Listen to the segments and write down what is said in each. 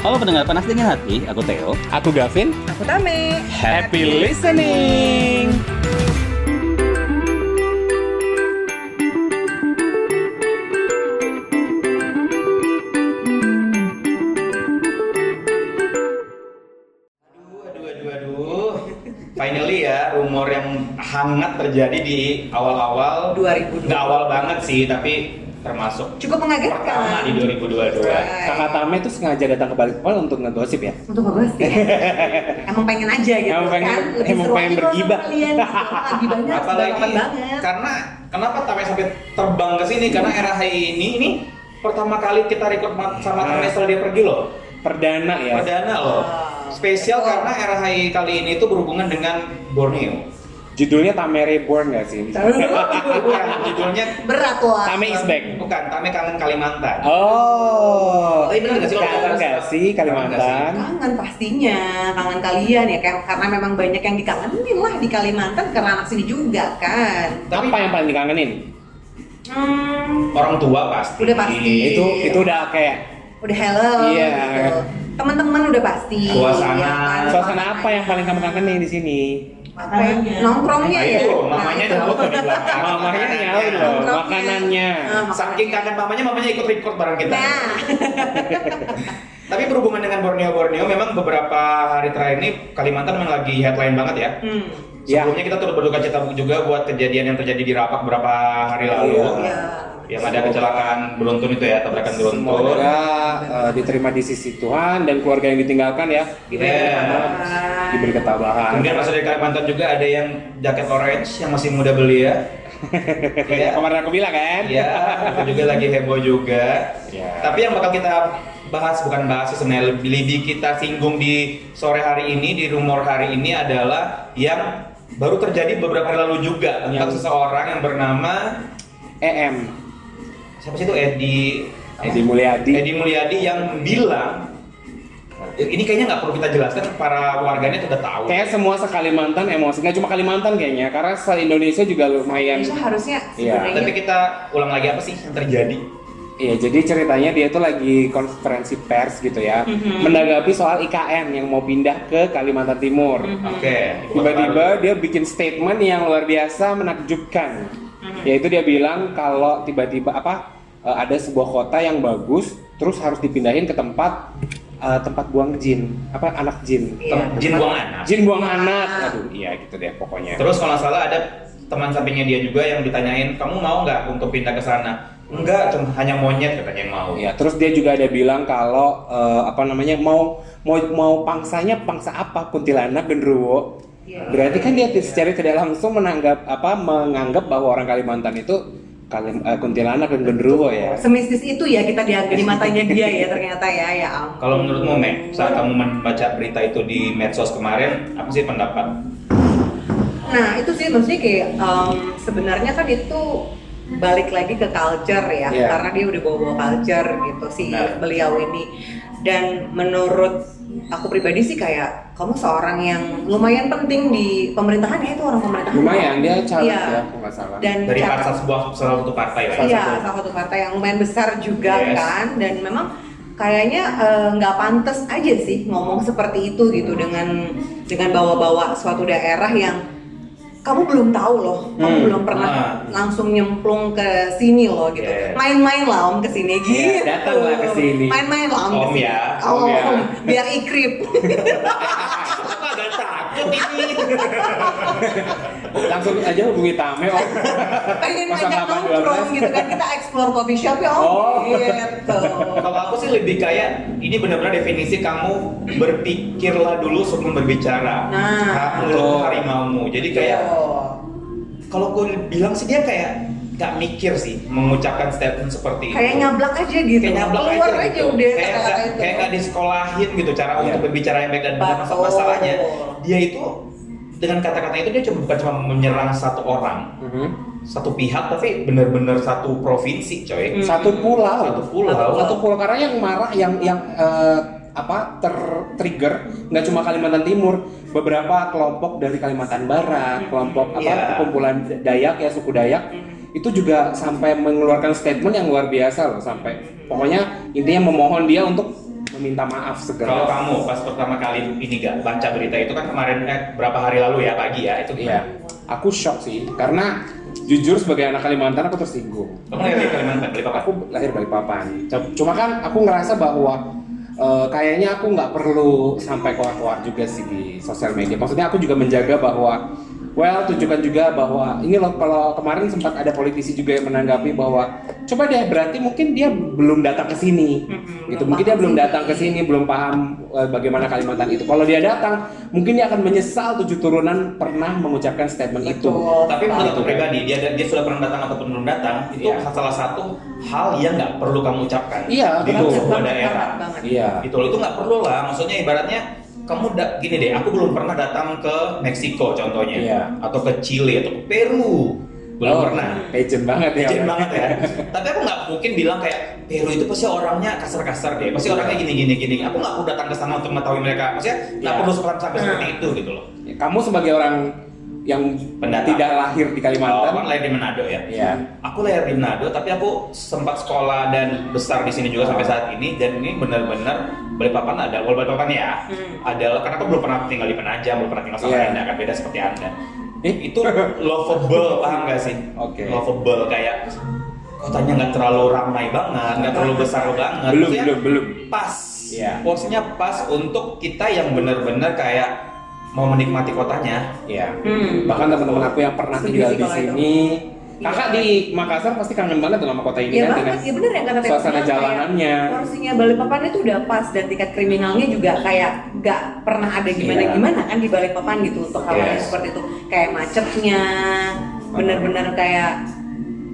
Halo pendengar panas dingin hati, aku Theo. Aku Gavin. Aku Tame. Happy listening. Aduh, aduh, aduh, aduh. Finally ya, rumor yang hangat terjadi di awal-awal 2022. Nggak awal banget sih, tapi termasuk Cukup pertama mengagetkan. di 2022. Hai. Kakak Tame itu sengaja datang ke Balikpapan untuk ngegosip ya. Untuk ngebahas ya. Emang pengen aja gitu Emang pengen- kan. Lebih emang seru pengen aja kalau bergibah. sama Kalian lagi banyak Apalagi banget. karena kenapa Tame sampai terbang ke sini? Karena RHI ini ini pertama kali kita record ma- sama Ah. Tame setelah dia pergi loh. Perdana ya. Perdana loh. Spesial karena RHI kali ini tuh berhubungan dengan Borneo. Judulnya Tame Reborn gak sih? Bukan, judulnya Berat loh. Tame is back. Bukan, Tame kangen Kalimantan. Oh. Tapi bener nggak sih lo Kangen ngomong? nggak sih Kalimantan? Kangen pastinya, kangen kalian ya kayak- karena memang banyak yang dikangenin lah di Kalimantan karena anak sini juga kan. Tapi- Apa yang paling dikangenin? Hmm, orang tua pasti Udah pasti. Iya. Itu itu udah kayak udah hello Iya. gitu. Teman-teman udah pasti. Suasana. ya kan? suasana apa yang paling kamu kangenin di sini? Apa yang- Nongkrongnya Nah, ya. itu Nah, mamanya itu. nyaut di belakang Mamanya nyalain loh, Nongkrongnya. makanannya. Ah, saking kangen mamanya mamanya ikut record bareng kita Nah, tapi berhubungan dengan Borneo Borneo memang beberapa hari terakhir ini Kalimantan memang lagi headline banget ya hmm. Ya. sebelumnya kita turut berduka cita juga buat kejadian yang terjadi di Rapak beberapa hari lalu Ya. yang ada kecelakaan beruntun itu ya tabrakan beruntun Semoga eh, diterima di sisi Tuhan dan keluarga yang ditinggalkan ya Diberi Yeah. ketabahan. diberi ketabahan. Iya. kemudian masih dari Kalimantan juga ada yang jaket orange yang masih muda belia Kayak Iya. kemarin aku bilang kan? Iya, itu juga lagi heboh juga. Iya. Tapi yang bakal kita bahas bukan bahas sih sebenarnya lebih, lebih kita singgung di sore hari ini di rumor hari ini adalah yang baru terjadi beberapa hari lalu juga tentang Yang- seseorang yang bernama Eh, EM siapa sih itu Edi Edi Mulyadi. Edi Mulyadi yang bilang ini kayaknya nggak perlu kita jelaskan para warganet udah tahu. Kayak semua sekalimantan emosi, nggak cuma Kalimantan kayaknya, karena se Indonesia juga lumayan. Indonesia harusnya Iya. Tapi sebenarnya kita ulang lagi apa sih yang terjadi? Iya, jadi ceritanya dia tuh lagi konferensi pers gitu ya, menanggapi soal IKN yang mau pindah ke Kalimantan Timur. Oke. Hmm. Tiba-tiba dia bikin statement yang luar biasa menakjubkan. Yaitu dia bilang kalau tiba-tiba apa e, ada sebuah kota yang bagus terus harus dipindahin ke tempat e, tempat buang jin, apa anak jin. Iya. Jin buang anak. Jin buang anak. Ah. Aduh, iya gitu deh pokoknya. Terus kalau nggak salah ada teman sampingnya dia juga yang ditanyain, kamu mau nggak untuk pindah ke sana? Enggak, cuma hanya monyet katanya yang mau. Ya, terus dia juga ada bilang kalau eh, apa namanya mau mau mau pangsanya pangsa apa kuntilanak genderuwo. Iya. Berarti kan dia secara tidak langsung menanggap apa menganggap bahwa orang Kalimantan itu kalim, eh, kuntilanak dan genderuwo ya. semistis itu ya kita dianggap di matanya dia ya ternyata ya ya ampun. Kalau menurutmu, Mek, saat kamu membaca berita itu di medsos kemarin, apa sih pendapat? Nah itu sih maksudnya kayak em, sebenarnya kan itu balik lagi ke culture ya Iya. karena dia udah bawa-bawa culture gitu si Benar. beliau ini dan menurut aku pribadi sih kayak kamu seorang yang lumayan penting di pemerintahan ya itu orang pemerintahan Lumayan dia caleg Iya. ya, kalau nggak salah. dan Dari cara- partai sebuah salah satu partai lah. ya. Iya, salah satu partai yang lumayan besar juga Yes. kan dan memang kayaknya eh, nggak pantas aja sih ngomong seperti itu gitu dengan dengan bawa-bawa suatu daerah yang kamu belum tahu loh, kamu Hmm. belum pernah Ah. langsung nyemplung ke sini loh gitu. Yes. Main-main lah om ke sini gitu. datanglah ke sini. Main-main lah om. ke Om sini. Oh, ya, Om, om ya. biar ikrip. Apa ada takut ini? Langsung aja hubungi Tame oh. om. Pengen 08 ngajak nongkrong gitu kan kita explore coffee shop ya om. Oh. Gitu. Kalau aku sih lebih kayak ini benar-benar definisi kamu berpikirlah dulu sebelum berbicara. Nah. Iya. menurut harimaumu. Jadi kayak Tuh. kalau gue bilang sih dia kayak nggak mikir sih mengucapkan statement seperti itu. kayak nyablak aja gitu kayak nyablak keluar aja, gitu. udah kayak kata-kata nggak itu kayak nggak disekolahin gitu cara Iya. untuk berbicara yang baik dan benar Betul. masalahnya dia itu dengan kata-kata itu dia cuma bukan cuma menyerang satu orang Mhm. satu pihak tapi benar-benar satu provinsi coy Hmm. Satu pulau. satu pulau Satu pulau karena yang marah yang yang eh, apa ter trigger nggak cuma Kalimantan Timur beberapa kelompok dari Kalimantan Barat kelompok apa Iya. Hmm. kumpulan Dayak ya suku Dayak itu juga sampai mengeluarkan statement yang luar biasa loh sampai pokoknya intinya memohon dia untuk minta maaf Kalau segera. kamu pas pertama kali ini gak baca berita itu kan kemarin eh, berapa hari lalu ya pagi ya itu Iya, aku shock sih karena jujur sebagai anak Kalimantan aku tersinggung. Kamu lahir di Kalimantan, Balikpapan. Aku lahir Balikpapan. C- Cuma kan aku ngerasa bahwa eh, kayaknya aku nggak perlu sampai keluar-keluar juga sih di sosial media. Maksudnya aku juga menjaga bahwa Well, tunjukkan juga bahwa ini loh kalau kemarin sempat ada politisi juga yang menanggapi bahwa coba deh berarti mungkin dia belum datang ke sini. Mm-mm, Gitu. belum Mungkin dia paham belum sih. datang ke sini, belum paham eh, bagaimana Kalimantan itu. Kalau dia datang, mungkin dia akan menyesal tujuh turunan pernah mengucapkan statement itu. Betul. Tapi menurut aku Balikpapan. pribadi dia dia sudah pernah datang ataupun belum datang itu Iya. salah satu hal yang nggak perlu kamu ucapkan Iya, di betul. sebuah Banget, daerah. banget, banget. Iya. Gitu loh, itu nggak perlu lah. Maksudnya ibaratnya kamu da- gini deh, aku belum pernah datang ke Meksiko contohnya, Iya. atau ke Chile atau ke Peru, belum Oh, pernah. Legend banget ya. Legend banget ya. Tapi aku nggak mungkin bilang kayak Peru itu pasti orangnya kasar-kasar deh. Pasti orangnya gini-gini gini. Aku nggak perlu datang ke sana untuk mengetahui mereka. Maksudnya nggak Iya. perlu sampai sampai seperti itu gitu loh. Ya, Kamu sebagai orang yang Pendatang. tidak lahir di Kalau Abang Kalimantan, Oh, lahir di Manado ya. ya. Aku lahir di Manado, tapi aku sempat sekolah dan besar di sini juga Oh. sampai saat ini. Dan ini benar-benar Balikpapan ada, kalau Balikpapan ya Hmm. adalah karena aku belum pernah tinggal di Penajam, belum pernah tinggal sama Iya. Anda, kan beda seperti Anda. Eh? Itu lovable, paham gak sih? Oke. Lovable kayak kotanya nggak terlalu ramai banget, nggak terlalu besar banget. belum Maksudnya belum belum. Pas, Iya. porsinya pas untuk kita yang benar-benar kayak mau menikmati kotanya. Ya. Hmm. Bahkan teman-teman aku yang pernah Setuju tinggal sih di kalau itu. sini, kakak di Makassar pasti kangen banget tuh sama kota ini Iya kan banget, dengan ya bener yang kata Tete suasana bilang, jalanannya. kayak Porsinya Balikpapannya tuh udah pas dan tingkat kriminalnya juga kayak nggak pernah ada gimana-gimana kan di Balikpapan gitu untuk hal-hal yang Iya. Yes. seperti itu kayak macetnya, bener-bener kayak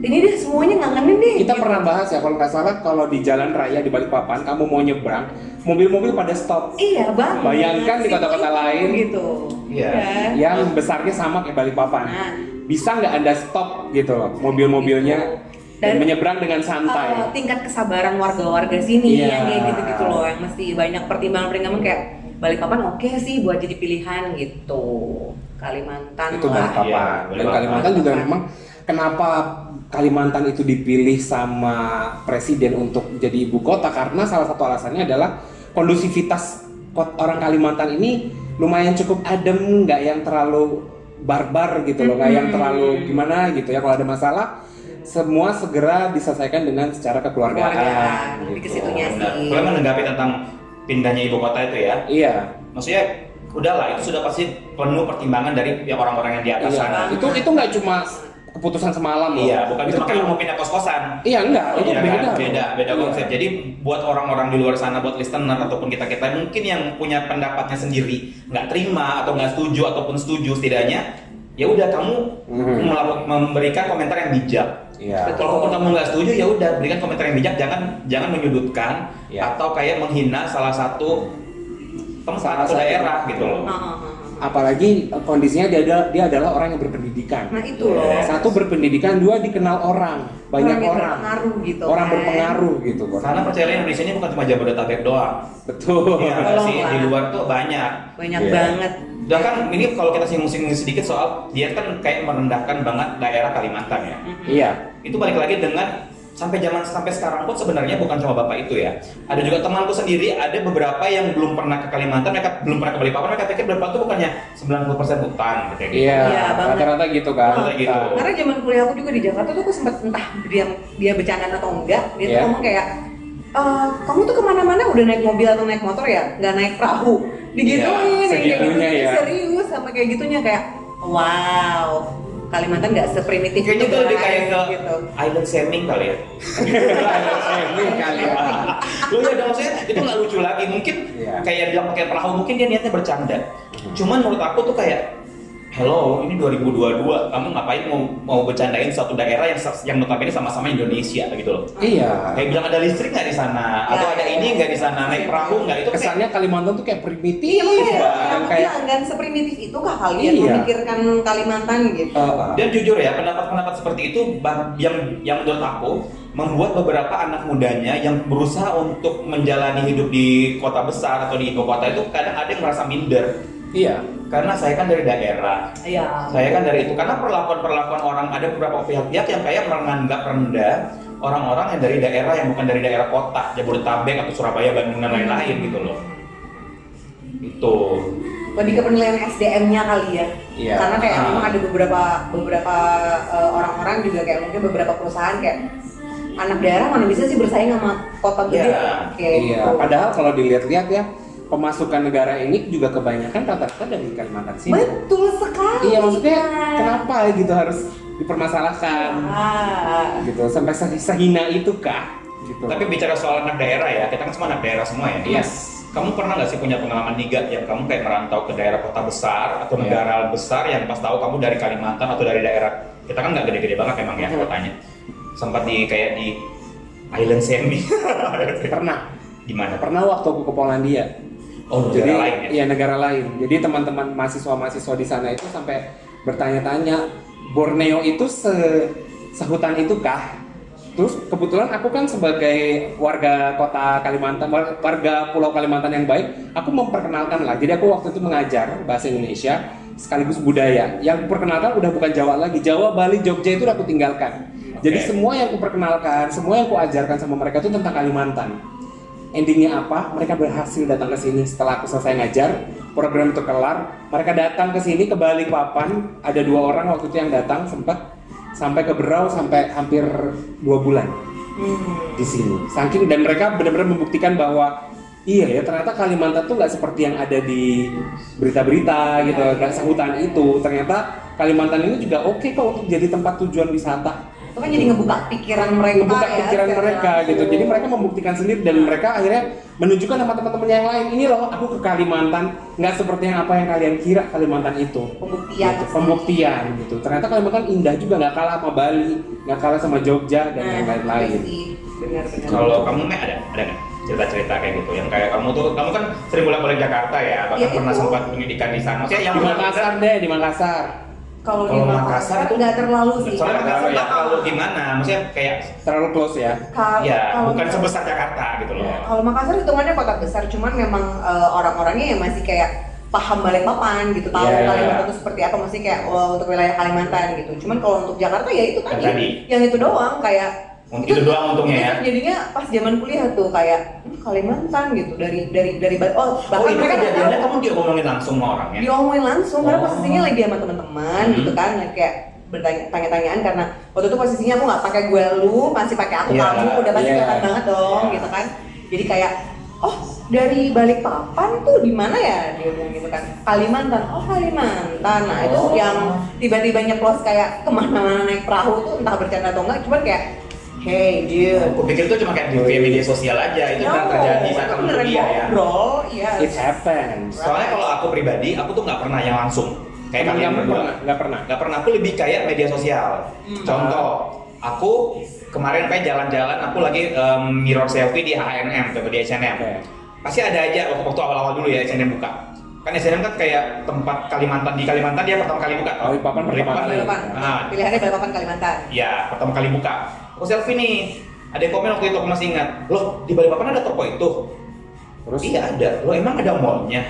ini deh semuanya ngangenin deh. gitu. Kita pernah bahas ya kalau nggak salah kalau di jalan raya di Balikpapan kamu mau nyebrang, mobil-mobil pada stop Iya bang. Bayangkan di kota-kota lain. gitu. Iya. Kan? yang besarnya sama kayak Balikpapan. Nah. Bisa nggak anda stop gitu loh mobil-mobilnya dan, Dan- menyeberang dengan Uh, santai? tingkat kesabaran warga-warga sini Iya. yang kayak gitu-gitu loh yang mesti banyak pertimbangan-pertimbangan kayak Balikpapan oke sih buat jadi pilihan gitu Kalimantan itu lah Balikpapan. Iya, Dan Balikpapan. Kalimantan juga memang kenapa Kalimantan itu dipilih sama presiden untuk jadi ibu kota karena salah satu alasannya adalah kondusivitas kot- orang Kalimantan ini lumayan cukup adem, nggak yang terlalu barbar gitu loh, nggak yang Mhm. terlalu gimana gitu ya kalau ada masalah semua segera diselesaikan dengan secara kekeluargaan. Kekeluargaan, gitu. lebih ke situnya. Iya Oh, Benar. sih. Kalau menanggapi tentang pindahnya ibu kota itu ya, Iya. maksudnya udahlah itu sudah pasti penuh pertimbangan dari ya, orang-orang yang di atas Iya. sana. Itu itu nggak cuma keputusan semalam loh. Iya, bukan itu kan- cuma kalau mau pindah kos-kosan. Iya enggak, itu Iya kan? beda. beda, beda Iya. konsep. Jadi buat orang-orang di luar sana, buat listener ataupun kita kita mungkin yang punya pendapatnya sendiri nggak terima atau nggak setuju ataupun setuju setidaknya ya udah kamu Mhm. melaku- memberikan komentar yang bijak. Iya. Betul. Kalaupun kamu nggak setuju ya udah berikan komentar yang bijak, jangan jangan menyudutkan Iya. atau kayak menghina salah satu Salah tempat atau satu. daerah gitu loh. Ah, ah, ah, ah. apalagi eh, kondisinya dia ada- dia adalah orang yang berpendidikan. nah itu loh Satu berpendidikan, dua dikenal orang, banyak yang orang. berpengaruh gitu Orang kan. berpengaruh gitu, Bos. Karena percayalah Indonesia ini bukan cuma Jabodetabek doang. Betul. Oh. Iya nggak sih Tolonglah. di luar tuh banyak. banyak Iya. banget Dan kan ini kalau kita singgung-singgung sedikit soal dia kan kayak merendahkan banget daerah Kalimantan ya. Iya. Itu balik lagi dengan sampai zaman sampai sekarang pun sebenarnya bukan cuma bapak itu ya. Ada juga temanku sendiri ada beberapa yang belum pernah ke Kalimantan, mereka belum pernah ke Balikpapan, mereka pikir Balikpapan tuh bukannya 90% hutan gitu ya. Iya, Iya, banget. rata-rata gitu kan. Rata-rata gitu. Nah, karena zaman kuliah aku juga di Jakarta tuh aku sempet entah dia dia bercandaan atau enggak dia tuh Iya. ngomong kayak "Eh, kamu tuh kemana-mana udah naik mobil atau naik motor ya nggak naik perahu digituin Iya, yang kayak segitunya gitu ya. serius sama kayak gitunya kayak wow Kalimantan nggak seprimitif Kayaknya itu lebih guys," kayak ke gitu. island shaming kali ya. eh, ini kali ya. Loh ya dong maksudnya itu nggak lucu lagi. Mungkin Iya. kayak bilang pakai perahu, mungkin dia niatnya bercanda. Cuman menurut aku tuh kayak Hello, ini 2022. Kamu ngapain mau mau bercandain suatu daerah yang yang notabene sama-sama Indonesia gitu loh. Iya. Kayak bilang ada listrik nggak di sana, atau Ya, ada ya. ini nggak di sana, naik perahu nggak itu kayak- Kesannya Kalimantan tuh kayak primitif Iya, banget, kayak nggak seprimitif itu kah kalian Iya. memikirkan Kalimantan gitu. Eh, Dan jujur ya, pendapat-pendapat seperti itu bah- yang yang menurut aku membuat beberapa anak mudanya yang berusaha untuk menjalani hidup di kota besar atau di ibu kota itu kadang ada yang merasa minder iya. karena saya kan dari daerah. Iya. Saya kan dari itu karena perlakuan-perlakuan orang ada beberapa pihak-pihak yang kayak menganggap rendah orang-orang yang dari daerah yang bukan dari daerah kota Jabodetabek atau Surabaya Bandung dan lain-lain gitu loh Gitu. itu lebih ke penilaian SDM-nya kali ya. Iya. Karena kayak Ah. memang ada beberapa beberapa eh, orang-orang juga kayak mungkin beberapa perusahaan kayak anak daerah mana bisa sih bersaing sama kota gede Iya. kayak iya. gitu. Padahal kalau dilihat-lihat ya pemasukan negara ini juga kebanyakan rata-rata dari Kalimantan Timur. Betul sekali. Iya maksudnya Kak. kenapa gitu harus dipermasalahkan Ah. gitu sampai se- sehina itu kah? Gitu. tapi bicara soal anak daerah ya kita kan semua anak daerah semua ya Yes. kamu pernah nggak sih punya pengalaman nigat yang kamu kayak merantau ke daerah kota besar atau Iya. negara besar yang pas tahu kamu dari Kalimantan atau dari daerah kita kan nggak gede-gede banget emang ya Mhm. kotanya sempat di kayak di island semi pernah gimana pernah waktu aku ke Polandia. oh Jadi negara lain ya iya negara lain. Jadi teman-teman mahasiswa-mahasiswa di sana itu sampai bertanya-tanya Borneo itu se sehutan itu kah? Terus kebetulan aku kan sebagai warga kota Kalimantan, war- warga Pulau Kalimantan yang baik, aku memperkenalkan lah. Jadi aku waktu itu mengajar bahasa Indonesia sekaligus budaya. Yang perkenalkan udah bukan Jawa lagi, Jawa, Bali, Jogja itu udah aku tinggalkan. Jadi Oke. semua yang aku perkenalkan, semua yang aku ajarkan sama mereka itu tentang Kalimantan endingnya apa mereka berhasil datang ke sini setelah aku selesai ngajar program itu kelar mereka datang ke sini ke Balikpapan ada dua orang waktu itu yang datang sempat sampai ke Berau sampai hampir dua bulan Hmm. di sini saking dan mereka benar-benar membuktikan bahwa iya ya ternyata Kalimantan tuh nggak seperti yang ada di berita-berita gitu nggak sehutan itu ternyata Kalimantan ini juga oke kok untuk jadi tempat tujuan wisata Itu kan jadi ngebuka pikiran mereka membuka ya, pikiran secara mereka langsung. gitu. Jadi mereka membuktikan sendiri dan mereka akhirnya menunjukkan sama teman-temannya yang lain, ini loh aku ke Kalimantan, nggak seperti yang apa yang kalian kira Kalimantan itu. pembuktian Gitu, pembuktian gitu. Ternyata Kalimantan indah juga nggak kalah sama Bali, nggak kalah sama Jogja Nah, dan gitu yang iya lain-lain. Benar-benar. Kalau kamu Mei ada ada nggak cerita-cerita kayak gitu yang kayak kamu tuh kamu kan sering bolak-balik Jakarta ya, bahkan Ya, pernah itu. sempat pendidikan di sana. Maksudnya yang Di Makassar deh, di Makassar. Kalau di Kalau Makassar Makassar tuh- nggak terlalu sih. Soalnya Makassar nggak Kalau ya. terlalu gimana, maksudnya kayak Terlalu close ya. Kalau- ya kalau Iya. bukan sebesar Jakarta gitu loh. Ya. Kalau Makassar hitungannya kota besar, cuman memang eh, orang-orangnya yang masih kayak paham Balikpapan gitu, tahu Iya. Kalimantan itu seperti apa, masih kayak oh, untuk wilayah Kalimantan gitu. Cuman kalau untuk Jakarta ya itu tadi, Yang tadi. yang itu doang kayak Untuk itu doang untungnya ya. Jadinya pas zaman kuliah tuh kayak hmm, Kalimantan gitu dari dari dari Bali- oh Oh bahkan mereka itu nggak tahu. kejadiannya Iya. kamu dia ngomongin langsung sama ya? orangnya. diomongin langsung karena Oh. posisinya lagi sama teman-teman Hmm. gitu kan yang kayak bertanya tanya-tanyaan karena waktu itu posisinya aku nggak pakai gue lu masih pakai aku Iya, kamu udah pasti iya, kelihatan banget dong iya. gitu kan jadi kayak oh dari balik papan tuh di mana ya dia bilang gitu kan Kalimantan oh Kalimantan nah itu Oh. yang tiba-tiba nyeplos kayak kemana-mana naik perahu tuh entah bercanda atau enggak cuman kayak hey dude Aku pikir itu cuma kayak di via media sosial aja itu kan terjadi saat itu kamu Iya. beneran kuliah ya. ngobrol ya It happens. Soalnya kalau aku pribadi aku tuh nggak pernah yang langsung kayak Temen kalian kamu berdua. pernah? Nggak pernah. Gak pernah, aku lebih kayak media sosial. Hmm. Contoh, aku kemarin kayak jalan-jalan, aku lagi em, mirror selfie di H&M, atau di H&M. Oke. Pasti ada aja waktu, waktu awal-awal dulu ya H&M buka. Kan H&M kan kayak tempat Kalimantan, di Kalimantan dia pertama kali buka. tau? Balikpapan Oh, pertama kali. Balikpapan. Ah. Iya, pilihannya Balikpapan Kalimantan Ya, pertama kali buka. Aku selfie nih. Ada yang komen waktu itu aku masih ingat. Loh, di Balikpapan ada toko itu? Terus Iya ada. Loh, emang ada mallnya?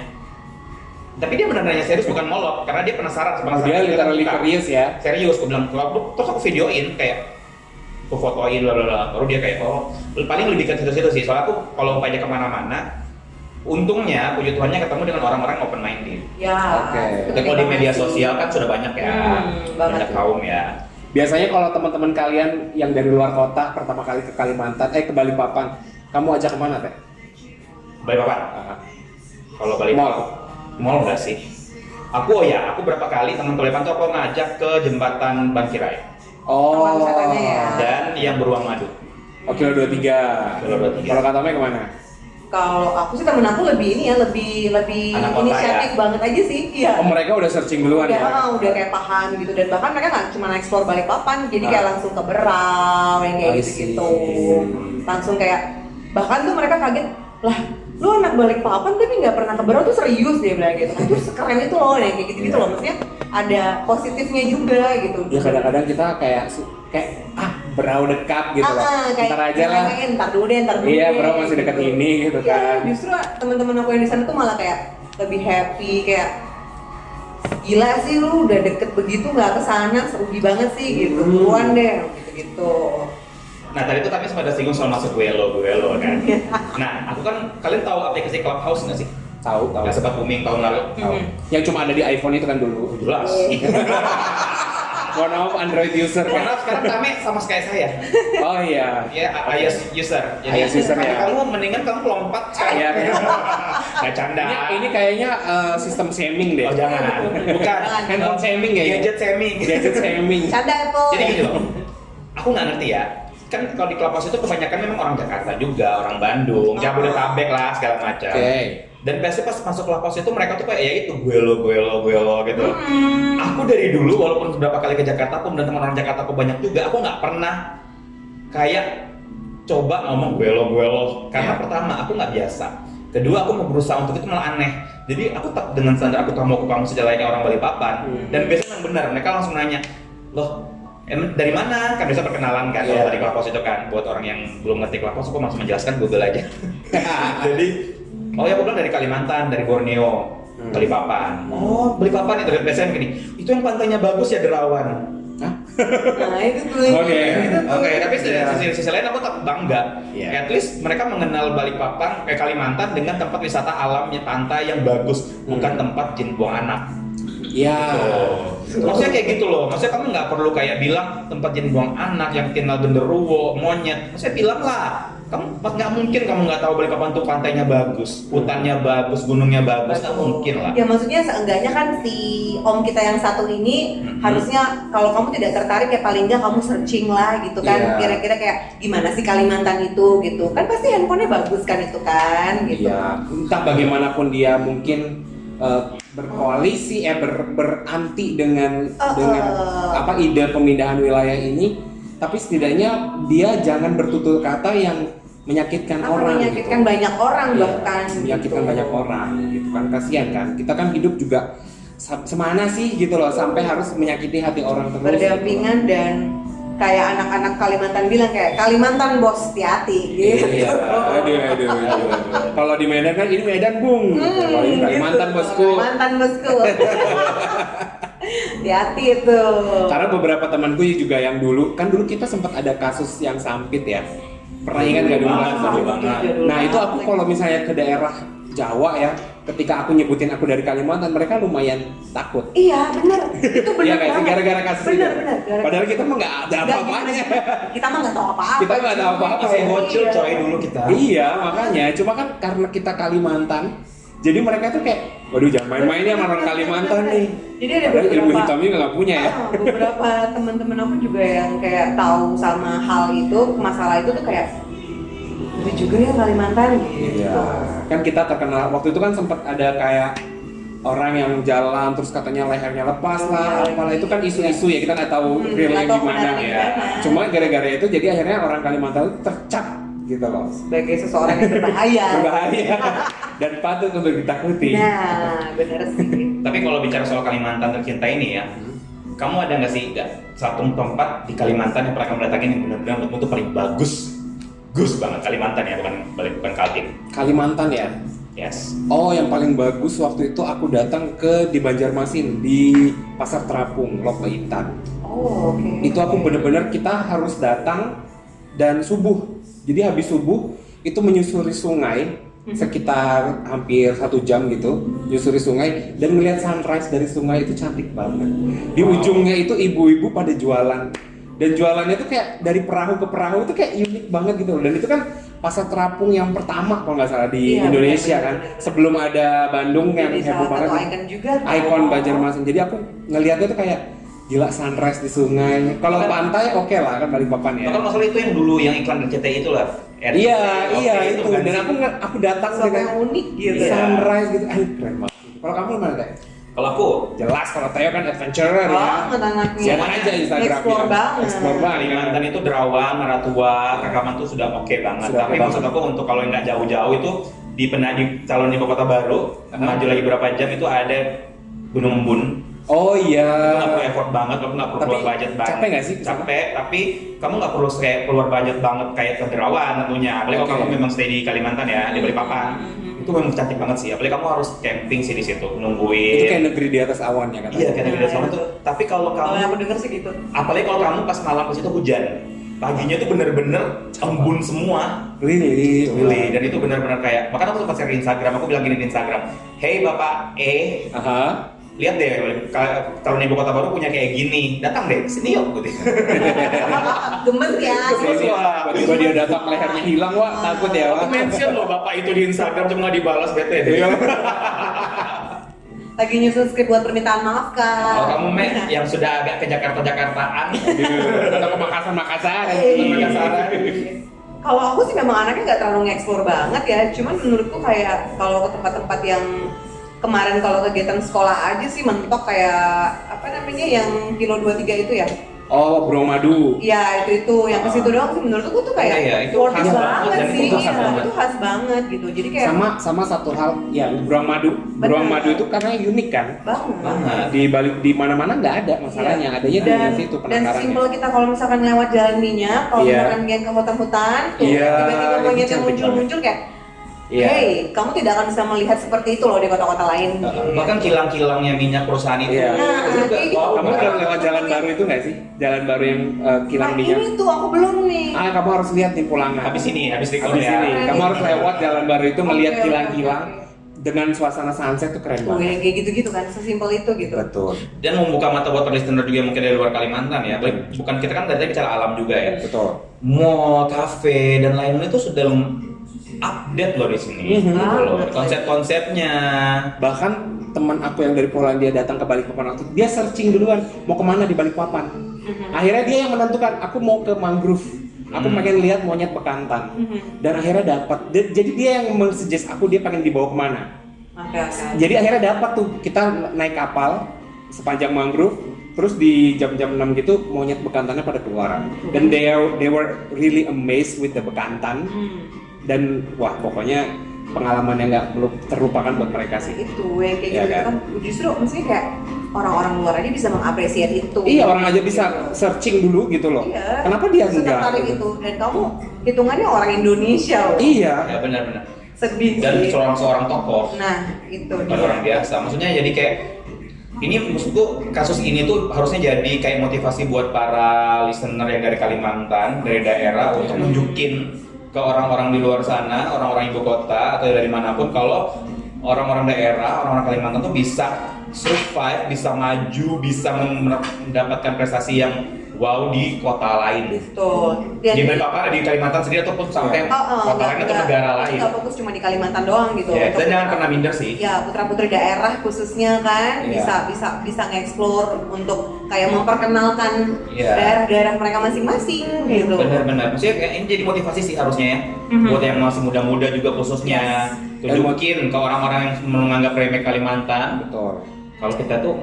Tapi dia benar nanya serius bukan molok karena dia penasaran penasaran. dia dia literally buka. curious ya. serius gue bilang ke aku terus aku videoin kayak aku fotoin bla bla bla baru dia kayak oh paling lebih ke situ situ sih soalnya aku kalau umpamanya kemana-mana untungnya puji Tuhannya ketemu dengan orang-orang open minded Ya. Oke. itu tapi kalau di penting media banget sih. sosial kan sudah banyak ya Hmm, banget. banyak kaum ya Biasanya kalau teman-teman kalian yang dari luar kota pertama kali ke Kalimantan, eh ke Balikpapan, kamu ajak kemana teh? balik apa kalau balik Mall. mall enggak sih aku oh ya aku berapa kali teman Balikpapan tuh aku ngajak ke jembatan Bangkirai Taman wisatanya ya. dan yang beruang madu Oh. Oke, lo 23. Kilo 23. Kalau kata Mei kemana? Kalau aku sih temen aku lebih ini ya, lebih lebih Anak kota inisiatif banget aja sih. Iya. Oh, mereka udah searching duluan udah, ya? ah, udah kayak paham gitu dan bahkan mereka nggak cuma eksplor balik papan, jadi kayak Ah. langsung ke Berau yang kayak I gitu gitu. see. Langsung kayak bahkan tuh mereka kaget lah lu anak balik papan tapi nggak pernah ke Berau tuh serius dia bilang gitu. Itu sekeren itu loh yang kayak gitu gitu Iya. loh maksudnya ada positifnya juga gitu. Ya kadang-kadang kita kayak su- kayak ah berau dekat gitu loh. Ah, kayak Ntar aja lah. kayak, ntar dulu deh, ntar dulu Iya, deh, berau masih dekat gitu. ini gitu Iya, kan. justru teman-teman aku yang di sana tuh malah kayak lebih happy kayak gila sih lu udah deket begitu nggak kesana rugi banget sih gitu Hmm. buruan deh gitu gitu Nah tadi itu pada singgung soal masuk Welo, Welo kan. Iya. nah, aku kan kalian tahu aplikasi Clubhouse nggak sih? Tahu, tahu. Yang sempat booming tahun lalu. Tahu. Mhm. Iya. Yang cuma ada di iPhone itu kan dulu. Jelas. Mohon maaf Android user kan. Karena sekarang rame sama kayak saya. Oh iya. Ya, I- iOS user. iOS user, kata ya. Kamu mendingan kamu lompat. Iya. Iya. iya. Nggak canda. Ini, ini kayaknya eh, sistem shaming deh. Oh jangan. Bukan. Jangan. Handphone shaming ya. Gadget semi. Gadget shaming. Canda Apple. Jadi gini loh, aku nggak ngerti ya. Kan kalau di Clubhouse itu kebanyakan memang orang Jakarta juga, orang Oh. Bandung, Jabodetabek lah segala macam. Oke. Dan biasanya pas masuk Clubhouse itu mereka tuh kayak ya itu gue lo, gue lo, gue lo gitu. Hmm. Aku dari dulu walaupun beberapa kali ke Jakarta aku dan teman orang Jakarta aku banyak juga, aku nggak pernah kayak coba ngomong gue lo, gue lo. Iya. Karena pertama aku nggak biasa. Kedua aku mau berusaha untuk itu malah aneh. Jadi aku tetap dengan standar aku kamu aku kamu sejalannya orang Balikpapan. Hmm. Dan biasanya yang benar mereka langsung nanya, loh em- dari mana? Kan biasa perkenalan kan, Iya. kalau tadi Clubhouse itu kan buat orang yang belum ngerti Clubhouse, aku langsung menjelaskan Google aja. Jadi, oh ya aku bilang dari Kalimantan, dari Borneo, Hmm. Balikpapan. Oh, Balikpapan itu biasanya begini. Itu yang pantainya bagus ya Derawan. Nah, itu tuh. Oke. Itu tuh. Oke, tapi dari Iya. sisi, sisi lain aku tak bangga. Iya. At least mereka mengenal Balikpapan kayak Kalimantan dengan tempat wisata alamnya pantai yang bagus, bukan tempat jin buang anak. Ya. Gitu. Maksudnya kayak gitu loh. Maksudnya kamu nggak perlu kayak bilang tempat yang buang anak, yang kenal genderuwo, monyet. Maksudnya bilang lah. Kamu pas nggak mungkin kamu nggak tahu Balikpapan tuh pantainya bagus, hutannya bagus, gunungnya bagus, nggak mungkin lah. Ya maksudnya seenggaknya kan si om kita yang satu ini Mhm. harusnya kalau kamu tidak tertarik ya paling nggak kamu searching lah gitu Iya. kan kira-kira kayak gimana sih Kalimantan itu gitu kan pasti handphonenya bagus kan itu kan gitu. Iya. Entah bagaimanapun dia mungkin eh, berkoalisi eh ber, beranti dengan Eh, dengan eh. apa ide pemindahan wilayah ini, tapi setidaknya dia jangan bertutur kata yang menyakitkan Apa orang. menyakitkan gitu. banyak orang Iya, bahkan. menyakitkan gitu. banyak orang gitu kan kasihan kan kita kan hidup juga sa- semana sih gitu loh sampai harus menyakiti hati orang terus gitu Berdampingan dan kayak anak-anak Kalimantan bilang kayak Kalimantan bos hati-hati gitu. Iya, aduh, aduh, aduh. Kalau di Medan kan ini Medan bung, Hmm, kalau ini gitu. Kalimantan bosku. Kalimantan bosku. hati-hati itu. Karena beberapa temanku juga yang dulu, kan dulu kita sempat ada kasus yang sampit ya. Pernah ingat gak Iya, dulu? Dulu Mas? banget, dulu banget. Nah itu aku kalau misalnya ke daerah Jawa ya, ketika aku nyebutin aku dari Kalimantan, mereka lumayan takut. Iya benar, itu benar Iya kayak sih, banget. gara-gara kasus benar, itu. Benar, gara- Padahal kita mah nggak ada Nggak, gitu. apa-apanya. Kita mah nggak tahu apa-apa. Kita nggak tahu apa-apa Masih ya. bocil Iya. coy dulu kita. Iya makanya. Cuma kan karena kita Kalimantan, jadi mereka tuh kayak, waduh jangan main-main ya sama orang Kalimantan nih. Iya, Jadi ada Padahal ilmu beberapa- hitamnya nggak punya ya. Ah, beberapa teman-teman aku juga yang kayak tahu sama hal itu, masalah itu tuh kayak itu juga ya Kalimantan gitu. Iya. Kan kita terkenal waktu itu kan sempat ada kayak orang yang jalan terus katanya lehernya lepas lah Iya. apalah itu kan isu-isu ya kita nggak tahu Hmm, realnya nggak tahu gimana benar ya gimana. cuma gara-gara itu jadi akhirnya orang Kalimantan itu tercap gitu loh Sebagai seseorang yang berbahaya. berbahaya dan patut untuk ditakuti Nah, Iya. benar sih. Tapi kalau bicara soal Kalimantan tercinta ini ya, Hmm. kamu ada nggak sih nggak, satu tempat di Kalimantan yang pernah kamu datangin yang benar-benar menurutmu tuh paling bagus, gus banget Kalimantan ya bukan balik bukan Kaltim. Kalimantan ya Yes. oh yang paling bagus waktu itu aku datang ke di Banjarmasin di pasar terapung Lok Baitan Oh, oke. itu aku bener-bener kita harus datang dan subuh jadi habis subuh itu menyusuri sungai Mm-hmm. sekitar hampir satu jam gitu menyusuri sungai dan melihat sunrise dari sungai itu cantik banget di Wow. ujungnya itu ibu-ibu pada jualan dan jualannya tuh kayak dari perahu ke perahu itu kayak unik banget gitu loh dan itu kan pasar terapung yang pertama kalau nggak salah di Iya, Indonesia benar, kan benar. sebelum ada Bandung yang Jadi heboh salah banget satu icon juga. kan. tuh. ikon Banjarmasin. Jadi aku ngelihatnya tuh kayak gila sunrise di sungai. Kalau pantai oke lah kan balik papan ya. Bukan masalah itu yang dulu yang iklan RCTI itu lah. Iya, iya Oke, itu. bukan Dan sih. aku nge- aku datang Sesuatu dengan yang unik gitu. Iya. sunrise gitu. Aduh keren banget. Kalau kamu gimana Teh? kalau aku Jelas kalau Teo kan adventurer ya. Iya. Banget anaknya. Siapa aja Instagramnya? Oh, iya. Explore banget. Iya. Explore banget. Kalimantan itu Derawan, Maratua, Rekaman tuh sudah oke banget. Sudah Tapi oke maksud aku untuk kalau yang nggak jauh-jauh itu di pernah di calon ibu kota baru maju lagi berapa jam itu ada Gunung Embun. Oh iya. Itu nggak ya? perlu effort banget, kamu nggak perlu Tapi keluar budget banget. capek nggak sih? Capek, tapi kamu nggak perlu kayak keluar budget banget kayak ke Derawan tentunya. Apalagi kalau Oke. Hmm. kamu memang stay di Kalimantan ya, di Balikpapan. Itu memang cantik banget sih. Apalagi kamu harus camping sih di situ, nungguin. Itu kayak negeri di atas awan ya katanya. Iya, kayak negeri di sana tuh. Tapi kalau Kalau yang kamu aku denger sih gitu. apalagi kalau kamu pas malam ke situ hujan paginya tuh bener-bener embun semua Really? Really. dan itu benar-benar kayak makanya aku sempat share di Instagram aku bilang gini di Instagram hey bapak eh Aha. lihat deh kalau calon ibu kota baru punya kayak gini datang deh sini yuk gitu gemes ya Gemes. iya. Ini Wah. tiba-tiba dia datang lehernya hilang wah takut ya aku wah. mention loh bapak itu di Instagram cuma dibalas bete deh Iya. lagi nyusun skrip buat permintaan maaf kak kalau kamu Mek, yang sudah agak ke Jakarta Jakartaan Datang ke Makassar Makassar. Iya. Makassar Kalau aku sih memang anaknya nggak terlalu nge-explore banget ya, cuman menurutku kayak kalau ke tempat-tempat yang kemarin kalau kegiatan sekolah aja sih mentok kayak apa namanya yang kilo 23 itu ya. Oh, Bro Madu. Iya, itu itu yang ke situ doang sih menurutku tuh kayak Ah. Iya, iya, itu worth khas it banget banget dan sih. itu khas Iya, banget. itu khas banget gitu. Jadi kayak Sama sama satu hal ya Bro Madu. Bro Benar. Madu itu karena unik kan. banget. banget Di balik di mana-mana nggak ada masalahnya, adanya di Iya. dan, situ dan penakarannya. simpel kita kalau misalkan lewat jalan minyak, kalau Iya. misalkan yang ke hutan-hutan, tuh Iya, tiba-tiba itu monyet yang cantik muncul-muncul kayak, Iya. hey, kamu tidak akan bisa melihat seperti itu loh di kota-kota lain. bahkan kilang-kilangnya minyak perusahaan itu Nah, Iya. itu juga, kayak gitu. wow, Kamu banget. udah lewat jalan baru itu nggak sih? Jalan baru yang eh, kilang Nah, minyak. Ini tuh aku belum nih. Ah, kamu harus lihat nih pulangan. habis ini habis record Habis ini, ya kamu harus lewat jalan baru itu melihat Iya. Oke, oke, kilang-kilang oke, dengan suasana sunset tuh keren Tuh banget. yang kayak gitu-gitu kan, sesimpel itu gitu. Betul. dan membuka mata buat listener juga yang mungkin dari luar Kalimantan ya Apalagi bukan kita kan dari tadi bicara alam juga ya Betul. mall, cafe dan lain-lain itu sudah lum- update loh di sini Mhm. gitu loh. Banget. konsep-konsepnya Bahkan teman aku yang dari Polandia datang ke Balikpapan waktu itu, dia searching duluan mau kemana di Balikpapan. Akhirnya dia yang menentukan, aku mau ke mangrove. Aku Hmm. pengen lihat monyet bekantan. Mhm. Dan akhirnya dapat. Dia- Jadi dia yang mensuggest aku dia pengen dibawa kemana. Ada kan. Jadi akhirnya dapat tuh kita naik kapal sepanjang mangrove terus di jam-jam 6 gitu monyet bekantannya pada keluaran dan they are- they were really amazed with the bekantan Hmm. dan wah pokoknya pengalaman yang nggak lu- terlupakan buat mereka Nah, sih itu yang kayak Iya gitu kan? kan. Justru mestinya kayak orang-orang luar aja bisa mengapresiasi itu. iya orang aja bisa searching dulu gitu loh Iya. kenapa dia enggak Setertarik gitu? itu dan kamu hitungannya orang Indonesia loh. iya ya benar-benar Sedih dan sih. seorang seorang tokoh Nah, itu bukan dia. orang biasa maksudnya jadi kayak ini maksudku kasus ini tuh harusnya jadi kayak motivasi buat para listener yang dari Kalimantan dari daerah untuk nunjukin ke orang-orang di luar sana orang-orang ibu kota atau dari manapun kalau orang-orang daerah orang-orang Kalimantan tuh bisa survive bisa maju bisa mem- mendapatkan prestasi yang wow di kota lain Betul. Dan di Balikpapan di Kalimantan sendiri ataupun sampai Oh, oh, kota nggak- lain atau nggak- negara lain nggak fokus cuma di Kalimantan doang gitu. Ya, Untuk- dan jangan pernah minder sih ya putra putri daerah khususnya kan Iya. Hmm. bisa bisa bisa nge-explore untuk kayak memperkenalkan Iya. daerah-daerah mereka masing-masing gitu Benar-benar. Maksudnya kayak ini jadi motivasi sih harusnya ya. Mhm. Buat yang masih muda-muda juga khususnya. Yes. Tunjukin ke orang-orang yang menganggap remeh Kalimantan. betul Kalau kita tuh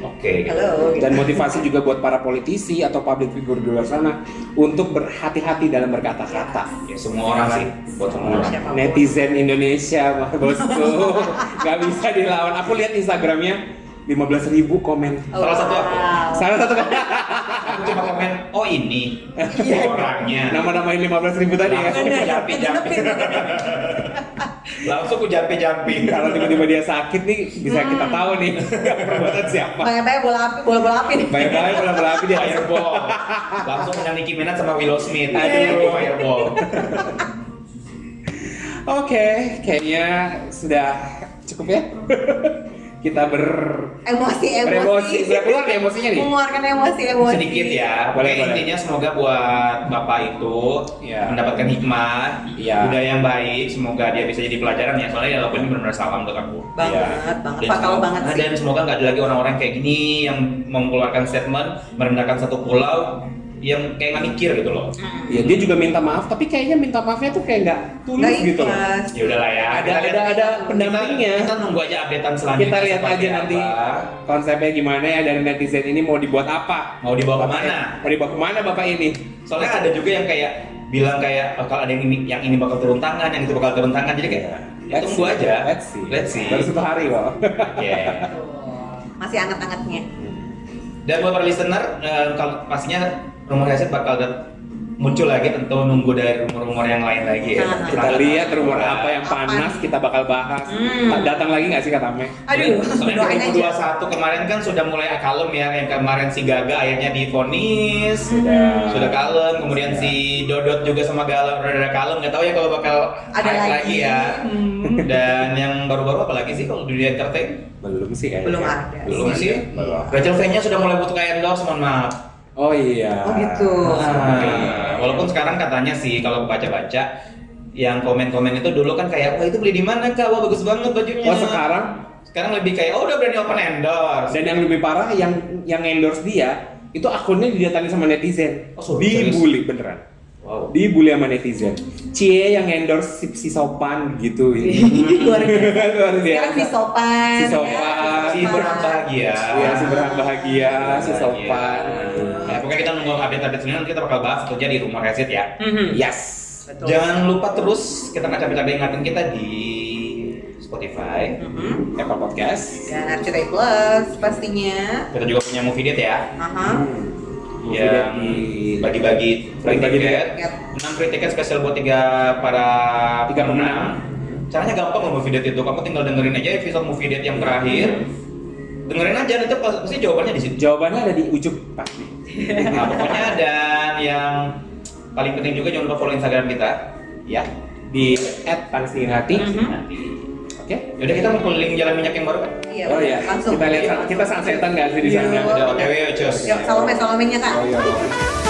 oke. gitu. halo gitu. dan motivasi juga buat para politisi atau public figure di luar sana untuk berhati-hati dalam berkata-kata Ya, semua orang sih. Buat semua orang. Siapapun. netizen Indonesia mah bosku nggak bisa dilawan aku lihat Instagramnya 15.000 komen Oh, Salah satu wow. aku. salah satu kan Aku cuma komen, oh ini orangnya. nama-namain 15.000 tadi Iya. ya Langsung Benar. jampi-jampi. Langsung aku jampi-jampi. kalau tiba-tiba dia sakit nih bisa kita Hmm. tahu nih perbuatan siapa banyak-banyak bola api bola bola api nih baik-baik bola bola api dia Fireball. Langsung kena Nicki Minaj sama Willow Smith. Iya, Aduh. Fireball. oke kayaknya sudah cukup ya kita ber emosi emosi beremosi sudah keluar nih emosinya nih mengeluarkan emosi emosi sedikit ya. Boleh, Boleh, boleh. intinya semoga buat bapak itu Iya. mendapatkan hikmah, Iya. budaya yang baik. Semoga dia bisa jadi pelajaran ya. Soalnya dialog ini benar-benar salah untuk aku. banget Iya. banget fatal semoga- banget Nah, sih dan semoga nggak ada lagi orang-orang kayak gini yang mengeluarkan statement merendahkan satu pulau yang kayak nggak mikir gitu loh. ya dia juga minta maaf tapi kayaknya minta maafnya tuh kayak nggak tulus nggak gitu loh ikhlas Ya udahlah ya. Kita ada ada lihat- ada kita, pendampingnya kita nunggu aja updatean selanjutnya. kita lihat seperti aja nanti apa. konsepnya gimana ya dari netizen ini mau dibuat apa mau dibawa kemana. mau dibawa kemana bapak ini soalnya ada juga yang kayak bilang kayak bakal ada yang ini yang ini bakal turun tangan yang itu bakal turun tangan jadi kayak ya Iya. Let's tunggu see. aja let's see let's see baru satu hari kok Yeah. masih anget-angetnya dan buat para listener eh, kalau pastinya rumah reset bakal dat- muncul lagi tentu nunggu dari rumor-rumor yang lain lagi ya. Nah, Kita lihat rumor apa yang Apa panas nih? kita bakal bahas. Hmm. Datang lagi nggak sih Katame? Aduh, Soalnya doain aja. 2021 kemarin kan sudah mulai kalem ya, yang kemarin si Gaga akhirnya difonis, Hmm. sudah kalem, kemudian si Dodot juga sama Galang udah udah kalem, nggak tahu ya kalau bakal Ada naik lagi. ya. Hmm. Dan yang baru-baru apa lagi sih kalau dunia entertain? Belum sih kayaknya. Belum ah. ada. Belum sih. Iya, sih. Belum. Rachel Fenya sudah mulai butuh kayak endorse, mohon maaf. Oh iya. Oh gitu. Ah, walaupun sekarang katanya sih kalau baca-baca yang komen-komen itu dulu kan kayak wah itu beli di mana kak wah bagus banget bajunya Oh sekarang sekarang lebih kayak oh udah berani open endorse dan yang lebih parah yang yang endorse dia itu akunnya didatangi sama netizen. Oh, serius? Dibully beneran. wow Dibully sama netizen. Cie yang endorse si, si sopan gitu. Luar biasa. Luar Sekarang si sopan. Si sopan. kan ya. si berhak bahagia Iya, si berhak bahagia, si sopan. nah, pokoknya kita nunggu update-update selanjutnya nanti kita bakal bahas kerja di rumah resit ya Mhm. Yes. Betul. jangan lupa terus kita nggak capek-capek ingatin kita di Spotify Mm-hmm. Mhm. Apple Podcast. Dan RCTI Ya, Plus pastinya. kita juga punya movie date ya Aha. Movie yang dari- bagi-bagi free Bagi-bagi tiket, tiket. enam free ticket spesial buat tiga para Tiga pemenang. Caranya gampang loh movie date itu. Kamu tinggal dengerin aja episode movie date yang terakhir. Mm-hmm. Dengerin aja nanti pasti jawabannya di situ. Jawabannya ada di ujung pasti. Nah, pokoknya dan yang paling penting juga jangan lupa follow Instagram kita. Ya. Di at hati. Mhm. Oke. Yaudah kita mau keliling jalan minyak yang baru kan? Iya, Oh iya, langsung. kita lihat kita sunsetan nggak sih di sana? Iya. Udah otw yuk cus. Yuk, salome salomennya kak. Oh, iya.